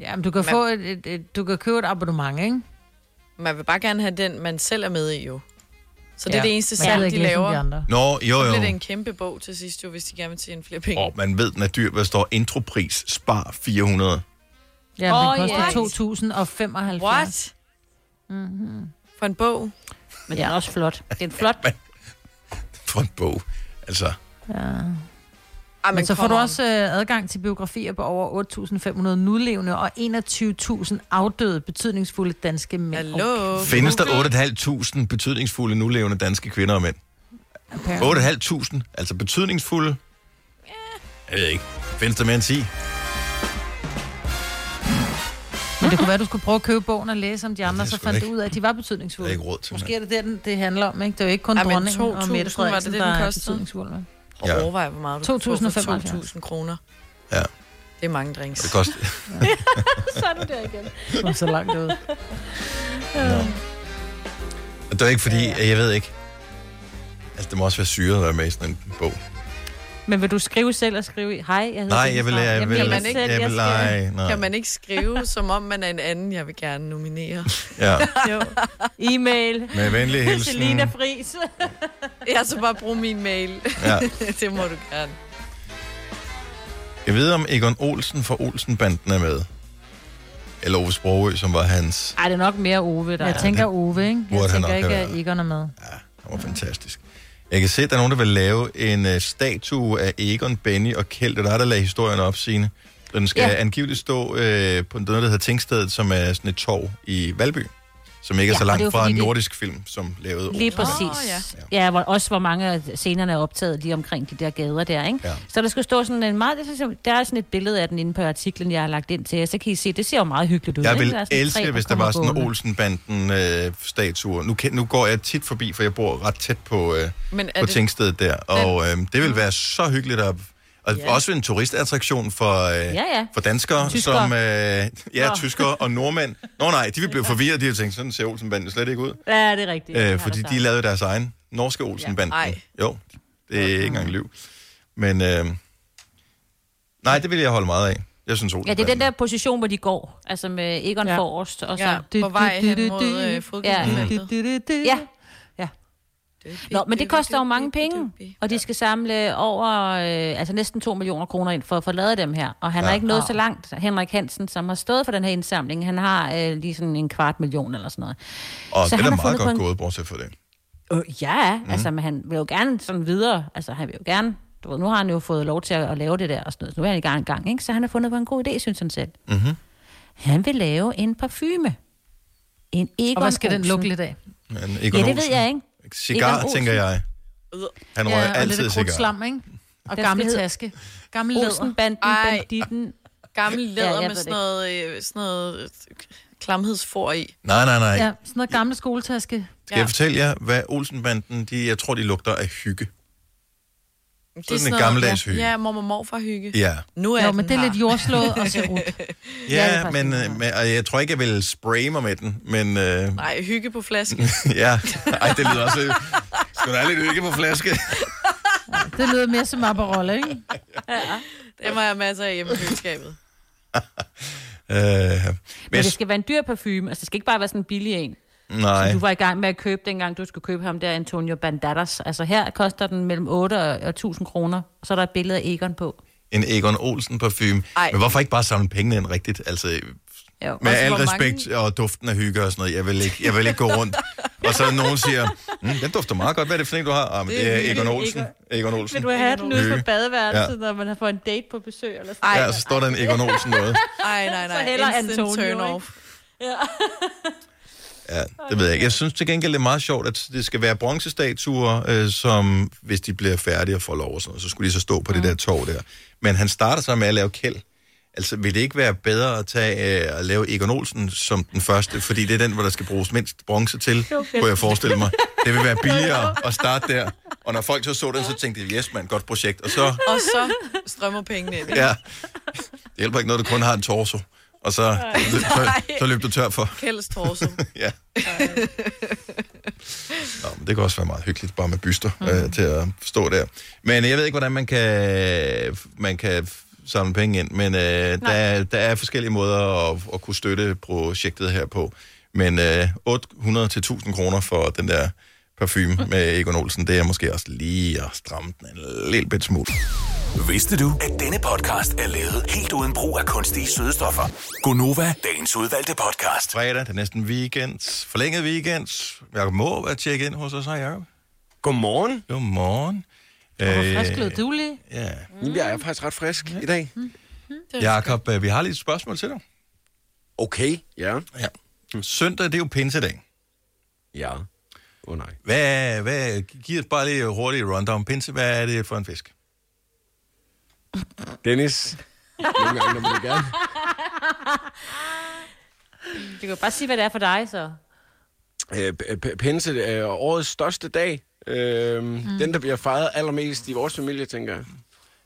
Ja, men du kan, få et, et, et, du kan købe et abonnement, ikke?
Man vil bare gerne have den, man selv er med i jo. Så det er
Ja,
det eneste
men jeg ved
salg,
ikke
ligesom
læse
de
om
laver.
de andre.
Nå, jo,
Så
jo.
bliver det en kæmpe bog til sidst jo, hvis de gerne vil tjene flere penge.
Og man ved, den er dyr, hvad der står intropris, spar 400.
Ja, oh,
Åh,
den koster
ja.
2075.
What? Mm-hmm. For en bog?
Men den er også flot. Det er en flot...
For en bog. Altså,
Ja.
Ej,
Men så får du også øh, adgang til biografier på over 8.500 nulevende og 21.000 afdøde, betydningsfulde danske mænd.
Hallo?
Findes der 8.500 betydningsfulde nulevende danske kvinder og mænd? 8.500, altså betydningsfulde? Jeg ved ikke. Findes der mere end 10?
Men det kunne være, du skulle prøve at købe bogen og læse om de andre,
det er
så
sgu
fandt
ikke-
du ud af, at de var betydningsfulde.
det er ikke råd til,
Måske er det der, den- det handler om, ikke? Det er jo ikke kun
Ej,
Ej,
men
dronningen og
2.000 var
Mette
det
Frederiksen,
det,
der
den
er
kostede?
betydningsfulde. Med.
Og
Ja.
overvej, hvor meget du kan få for
2.075.
2.000 kroner.
Ja.
Det er mange drinks.
Det koster-
så er du der igen.
Kom så langt ud.
Og det er ikke fordi, at jeg ved ikke. Altså, det må også være syret at være med i sådan en bog.
Men vil du skrive selv og skrive i? Hej, jeg hedder
Nej,
Dennis
jeg vil-
Ravn."
jeg
Jamen,
vil-
kan
jeg
selv,
vil-
skal-
Nej, nej.
Kan man ikke skrive, som om man er en anden, jeg vil gerne nominere?
Ja.
jo.
E-mail.
Med venlig hilsen.
Selina Friis.
jeg så bare bruge min mail.
Ja.
det må du gerne.
Jeg ved, om Egon Olsen fra Olsenbanden er med. Eller Ove Sprogø, som var hans...
Ej, det er nok mere Ove, der Jeg
er.
tænker Ove, ikke?
Burde
Jeg
han
tænker
nok
ikke,
have
at Egon er med.
Han var fantastisk. Jeg kan se, at der er nogen, der vil lave en øh, statue af Egon, Benny og Kjeld. Det er dig, der lagde historien op, Signe. Den skal
Ja.
ja. angiveligt stå øh, på noget, der hedder Tingstedet, som er sådan et torv i Valby, som ikke er
Ja,
så
og
langt
det er jo
fra
fordi,
en
det-
nordisk film, som lavede
Lige
Olsen.
præcis. Oh, ja. ja, hvor, også hvor mange af scenerne er optaget lige omkring de der gader der, ikke?
Ja.
Så der skulle stå sådan en meget... Der er sådan et billede af den inde på artiklen, jeg har lagt ind til jer. Så kan I se, det ser jo meget hyggeligt ud.
Jeg
ikke?
vil
Der er sådan tre,
elske, hvis der
kommer
var sådan en
gående.
Olsenbanden-statue. nu, ken- nu går jeg tit forbi, for jeg bor ret tæt på, øh,
Men er
på
det-
Tingstedet der. Og øh, det vil være så hyggeligt at... Og
Ja.
ja. også en turistattraktion for, øh, ja,
ja.
ja. for danskere,
Tyskere.
som... Øh, ja,
Nå.
tyskere og nordmænd. Nå nej, de vil blive forvirret, de har tænkt, sådan ser Olsenbanden slet ikke ud.
Ja, det er rigtigt.
Øh, fordi de lavede deres egen norske Olsenbanden.
Ja. Ej.
Jo, det er ikke engang liv. Men øh, nej, det vil jeg holde meget af. Jeg synes
Ja, det
Olsenbanden.
er den der position, hvor de går. Altså med Egon ja. forrest. Og så...
Ja, på vej hen mod, øh, fodgængerfeltet.
Ja. ja. Nå, men det koster jo mange penge, og de skal samle over, øh, altså næsten 2 millioner kroner ind for at få lavet dem her. Og han ja.
Ja.
er ikke nået
Au.
så langt, Henrik Hansen, som har stået for den her indsamling. Han har øh, lige sådan en kvart million eller sådan noget.
Og den
han
er
har
meget
fundet på
godt
en-
gået, bortset fra det.
Øh, ja, mm. altså men han vil jo gerne sådan videre. Altså han vil jo gerne, du ved, nu har han jo fået lov til at, at lave det der og sådan noget. Så nu er han i gang en gang, ikke? Så han har fundet på en god idé, synes han selv.
Mm-hmm.
Han vil lave en parfume. En Egon
Og hvad skal den
Olsen.
lugte lidt af?
Men
Ja, det ved jeg ikke.
Cigar,
Egon Olsen.
tænker jeg. Han røg
ja, og
altid
lidt
cigar.
krudtslam, ikke? Og
Den
gammel
skal hedde
taske. Gammel
Olsen,
læder.
banden, banditten.
Gammel
Ja,
læder
jeg
ja,
ved
med
det
sådan noget, øh, sådan noget øh, klamhedsfor i.
Nej, nej, nej.
Ja, sådan noget gamle skoletaske.
Skal jeg fortælle jer, hvad Olsenbanden, de, jeg tror, de lugter af hygge.
Det er
sådan en
noget-
gammeldags
ja,
hygge.
Ja, mormor morfar hygge.
Ja.
Nu er
Jo,
den
men det er
her.
lidt jordslået og så rut.
Ja, ja men, øh, men og jeg tror ikke, jeg vil spraye mig med den, men... Øh,
Nej, hygge på flasken.
ja, Ej, det lyder også... Skal der have lidt hygge på flaske? Øh,
Det lyder mere som Aperol, ikke?
ja. Det må jeg have masser af hjemme i køleskabet.
Øh,
Men det skal være en dyr parfume, altså det skal ikke bare være sådan en billig en.
nej.
Som du var i gang med at købe, dengang du skulle købe ham der, Antonio Bandadas. Altså her koster den mellem 8 og og 1000 kroner, og så er der et billede af Egon på.
en Egon Olsen parfume.
Ej.
Men hvorfor ikke bare samle pengene ind rigtigt? Altså,
Jo.
med
Også
al
hvor
respekt og duften af hygge og sådan noget. Jeg vil ikke, jeg vil ikke gå rundt. og så nogen siger, mm, den dufter meget godt. Hvad er det for en, du har? Ah, men det,
Det er
er
hygge.
Egon Olsen. Egon Olsen.
Vil du have den ude på
Hygge.
badeværelset,
Ja.
ja. når man har fået en date på besøg? Eller sådan
Ej, ja, og så står der en Egon Olsen noget.
Ej, nej, nej.
Så heller
Instant
Antonio,
turn
ikke?
off.
Ja, det ved jeg ikke. Jeg synes til gengæld, det er meget sjovt, at det skal være bronzestatuer, øh, som hvis de bliver færdige og får lov og sådan noget, så skulle de så stå på det der tog der. Men han starter så med at lave kæld. Altså, vil det ikke være bedre at tage øh, at lave Egon Olsen som den første? Fordi det er den, hvor der skal bruges mindst bronze til,
Okay.
kunne jeg forestille mig. Det vil være billigere at starte der. Og når folk så så den, så tænkte de, yes, man, godt projekt. Og så,
Og så strømmer pengene ind.
ja, det hjælper ikke noget, du kun har en torso. Og så, så, så, så løb du tør for.
Kælds torso.
Ja. Nå, men det kan også være meget hyggeligt, bare med byster mm. øh, til at stå der. Men jeg ved ikke, hvordan man kan, man kan samle penge ind, men øh, der, er- der er forskellige måder at, at kunne støtte projektet her på. Men øh, 800 til 1000 kroner for den der parfume med Egon Olsen, det er måske også lige at stramme den en lille bit smule.
Vidste du, at denne podcast er lavet helt uden brug af kunstige sødestoffer? Gonova, dagens udvalgte podcast.
Fredag, det er næsten weekend. Forlænget weekend. Jakob må at tjekke ind hos os her, Jacob.
Godmorgen.
Godmorgen.
Hvor frisk lød du lige?
Ja.
Mm. Jeg er faktisk ret frisk i dag.
Mm. Jakob, øh, vi har lige et spørgsmål til dig.
Okay, ja.
ja. Søndag, det er jo pinsedag.
Ja. Åh oh, nej.
Hvad, hvad, giv os bare lige hurtigt et rundown. Pinse, hvad er det for en fisk?
Dennis. Nogle gange, når man gerne.
Du kan jo bare sige, hvad det er for dig, så.
Øh, p- p- Pinse er årets største dag. Øh, mm. Den, der bliver fejret allermest i vores familie, tænker jeg.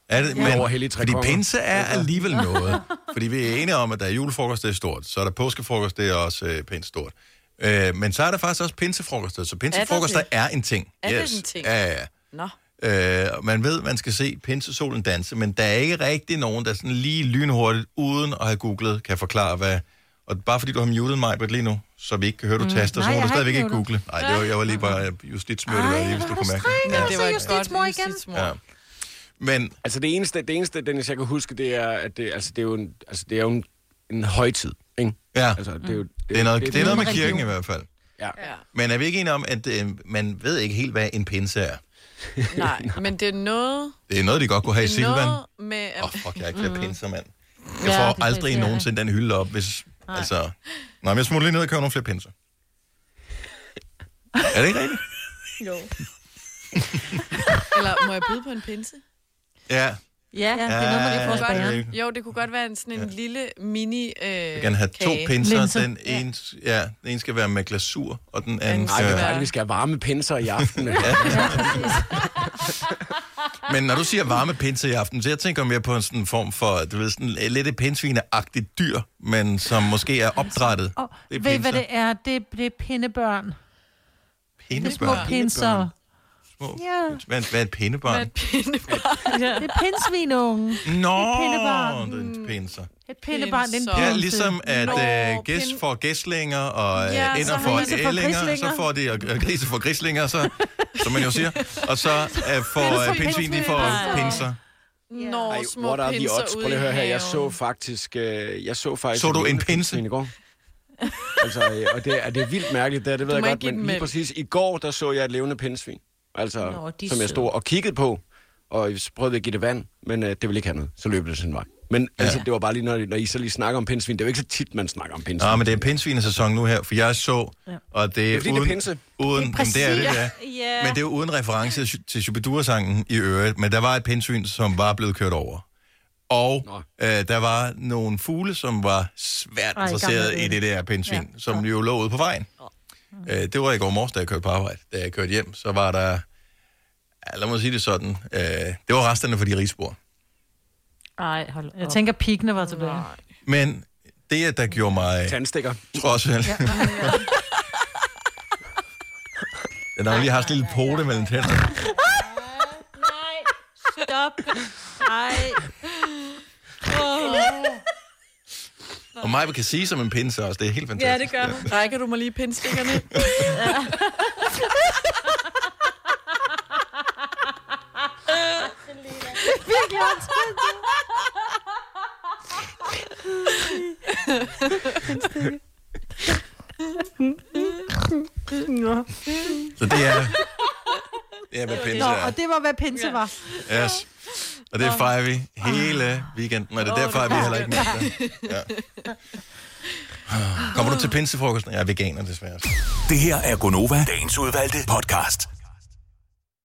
Er det,
Ja. Over hellige tre
fordi
konger.
pinse er alligevel noget. fordi vi er enige om, at der er julefrokost, det er stort. Så er der påskefrokost, det er også øh, pænt stort. Øh, men så er der faktisk også pinsefrokoster. Så pinsefrokoster
det?
er, er en ting.
Er det en ting?
Ja, ja, ja.
Nå.
Øh, og man ved, man skal se pinsesolen danse, men der er ikke rigtig nogen, der sådan lige lynhurtigt, uden at have googlet, kan forklare, hvad... Og bare fordi du har muted mig lige nu, så vi ikke kan høre, du
Mm.
taster,
Nej,
så må
jeg
du
har
stadigvæk
ikke
ikke
muted.
google. Nej, det var, jeg var lige bare justitsmødet, eller lige, hvis du kunne mærke det.
Ja.
Ja.
Det var et godt
justitsmor igen.
Ja. Men...
Altså det eneste, det eneste, Dennis, jeg kan huske, det er, at det, altså, det er jo en, altså, det er jo en, en højtid. Ikke?
Ja. Mm.
Altså, det, er jo,
Det er noget, det er noget med kirken i
religion.
hvert fald.
Ja.
Men er vi ikke enige om, at øh, man ved ikke helt, hvad en pinse er?
Nej, men det er noget...
Det er noget, de godt kunne have i
det er
Silvan.
noget med...
Åh, oh, fuck, jeg er ikke flere pinser, mand. Jeg
Ja,
får
det er
aldrig
det, ja.
nogensinde den hylde op, hvis...
Nej.
Altså... Nå, men jeg smutter lige ned og køber nogle flere pinser. er det ikke rigtigt?
Jo. Eller må jeg byde på en pinse?
Ja.
Ja,
det er noget, man lige får Ja, spærret. det er
Jo, det kunne godt være en, sådan en ja. lille mini øh,
Jeg vil gerne have to
kage.
pinser. Den ene, ja. den ene skal være med glasur, og den anden
Nej, vi skal- vi skal have varme pinser i aften.
Men når du siger varme pinser i aften, så jeg tænker mere på en sådan form for, du ved, sådan lidt et pindsvineagtigt dyr, men som måske er opdrættet.
Og
Det er
ved I, hvad
pinser.
det er? Det, er- det er pindebørn. Det er små
Pindebørn.
pinser.
Små-
Ja.
Hvad, hvad er et pindebarn?
Hvad er et Det er pindsvinungen.
Nå,
Et pindebarn.
det er pinser.
Et pindebarn, det er en pinse.
Ja, ligesom at
Nå,
øh, gæs
pind-
får gæslinger, og
Ja,
øh,
så
ender
har
får
grise får
ællinger, så
grislinger.
får de, og og grise får grislinger, så, som man jo siger, og så øh, får øh, pindsvin, de får pinser.
Når
Ej,
små
what are the
pinser
odds? Prøv
ude
lige at
i
høre her. Jeg så
haven.
faktisk... Øh, jeg så faktisk...
Så du en
pinse? I går. altså, øh, og det, er, det er vildt mærkeligt, det, er, det ved
Du
jeg
må ikke
godt,
give
men lige
dem mælk.
præcis i går, der så jeg et levende pindsvin. Altså,
Nå, de er
som jeg stod
søde.
og kiggede på, og så prøvede jeg at give det vand, men øh, det ville ikke have noget. Så løb det sin vej. Men altså, det var bare lige, når, når I så lige snakker om pindsvin. Det er jo ikke så tit, man snakker om pindsvin.
Nå, men det er pindsvinesæson nu her, for jeg så, og det
Det
er
er fordi, det er
uden...
pinse.
uden
Det er
det er det, er det, det er.
præcis. Ja.
Men det er jo uden reference til Shubidua-sangen i øvrigt, men der var et pindsvin, som var blevet kørt over. Og øh, der var nogle fugle, som var svært
Ej,
interesseret
gamle
i det der pindsvin, ja. som jo lå ude på vejen. Øh, det var i går morges, da jeg kørte på arbejde. Da jeg kørte hjem, så var der... Ja, lad mig sige det sådan. Øh, det var resterne for de rigsbord.
Ej, hold Jeg tænker, pikkene var tilbage.
Men det, der gjorde mig...
Tandstikker.
Trods alt. Ja. Den har jo lige haft sådan en lille pote mellem tænderne.
Nej, stop. Nej.
Og mig kan sige som en pinse også. Det er helt fantastisk.
Ja, det gør hun. Rækker du mig lige pindstikkerne?
Virkelig åndssvagt.
Så det er, det er hvad pinse
Nå,
er.
og det var, hvad pinse var.
Yes. Og det fejrer vi hele weekenden, og det er derfor, at vi heller ikke med. Ja. Kommer du til pinsefrokosten? Jeg er veganer, desværre.
Det her er Gonova, dagens udvalgte podcast.